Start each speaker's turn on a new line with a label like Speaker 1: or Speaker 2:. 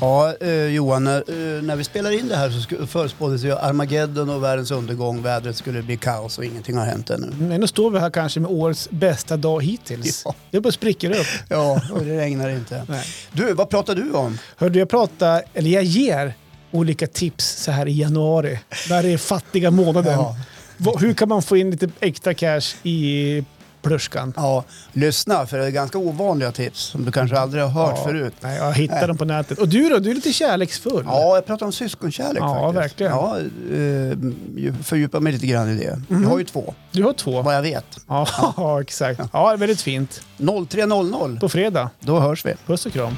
Speaker 1: Ja, eh, Johan, när, eh, när vi spelar in det här så sku- förutspåddes ju Armageddon och världens undergång. Vädret skulle bli kaos och ingenting har hänt ännu.
Speaker 2: Men nu Mm, står vi här kanske med årets bästa dag hittills.
Speaker 1: Ja.
Speaker 2: Det bara spricker upp.
Speaker 1: Ja, och det regnar inte.
Speaker 2: Nej.
Speaker 1: Du, vad pratar du om?
Speaker 2: Hörde jag prata, eller jag ger olika tips så här i januari. Där det är fattiga månaden.
Speaker 1: Ja.
Speaker 2: Vad- Hur kan man få in lite extra cash i plöskan?
Speaker 1: Ja, lyssna, för det är ganska ovanliga tips som du kanske aldrig har hört
Speaker 2: Ja.
Speaker 1: förut.
Speaker 2: Nej, jag hittar dem på nätet. Och du då? Du är lite kärleksfull.
Speaker 1: Ja, jag pratar om syskonkärlek
Speaker 2: Ja,
Speaker 1: faktiskt.
Speaker 2: verkligen.
Speaker 1: Ja, eh, fördjupa mig lite grann i det.
Speaker 2: Mhm.
Speaker 1: Jag har ju två,
Speaker 2: Du har två.
Speaker 1: vad jag vet.
Speaker 2: Ja, exakt. Ja, väldigt fint.
Speaker 1: 03.00,
Speaker 2: På fredag.
Speaker 1: då hörs vi.
Speaker 2: Puss och kram.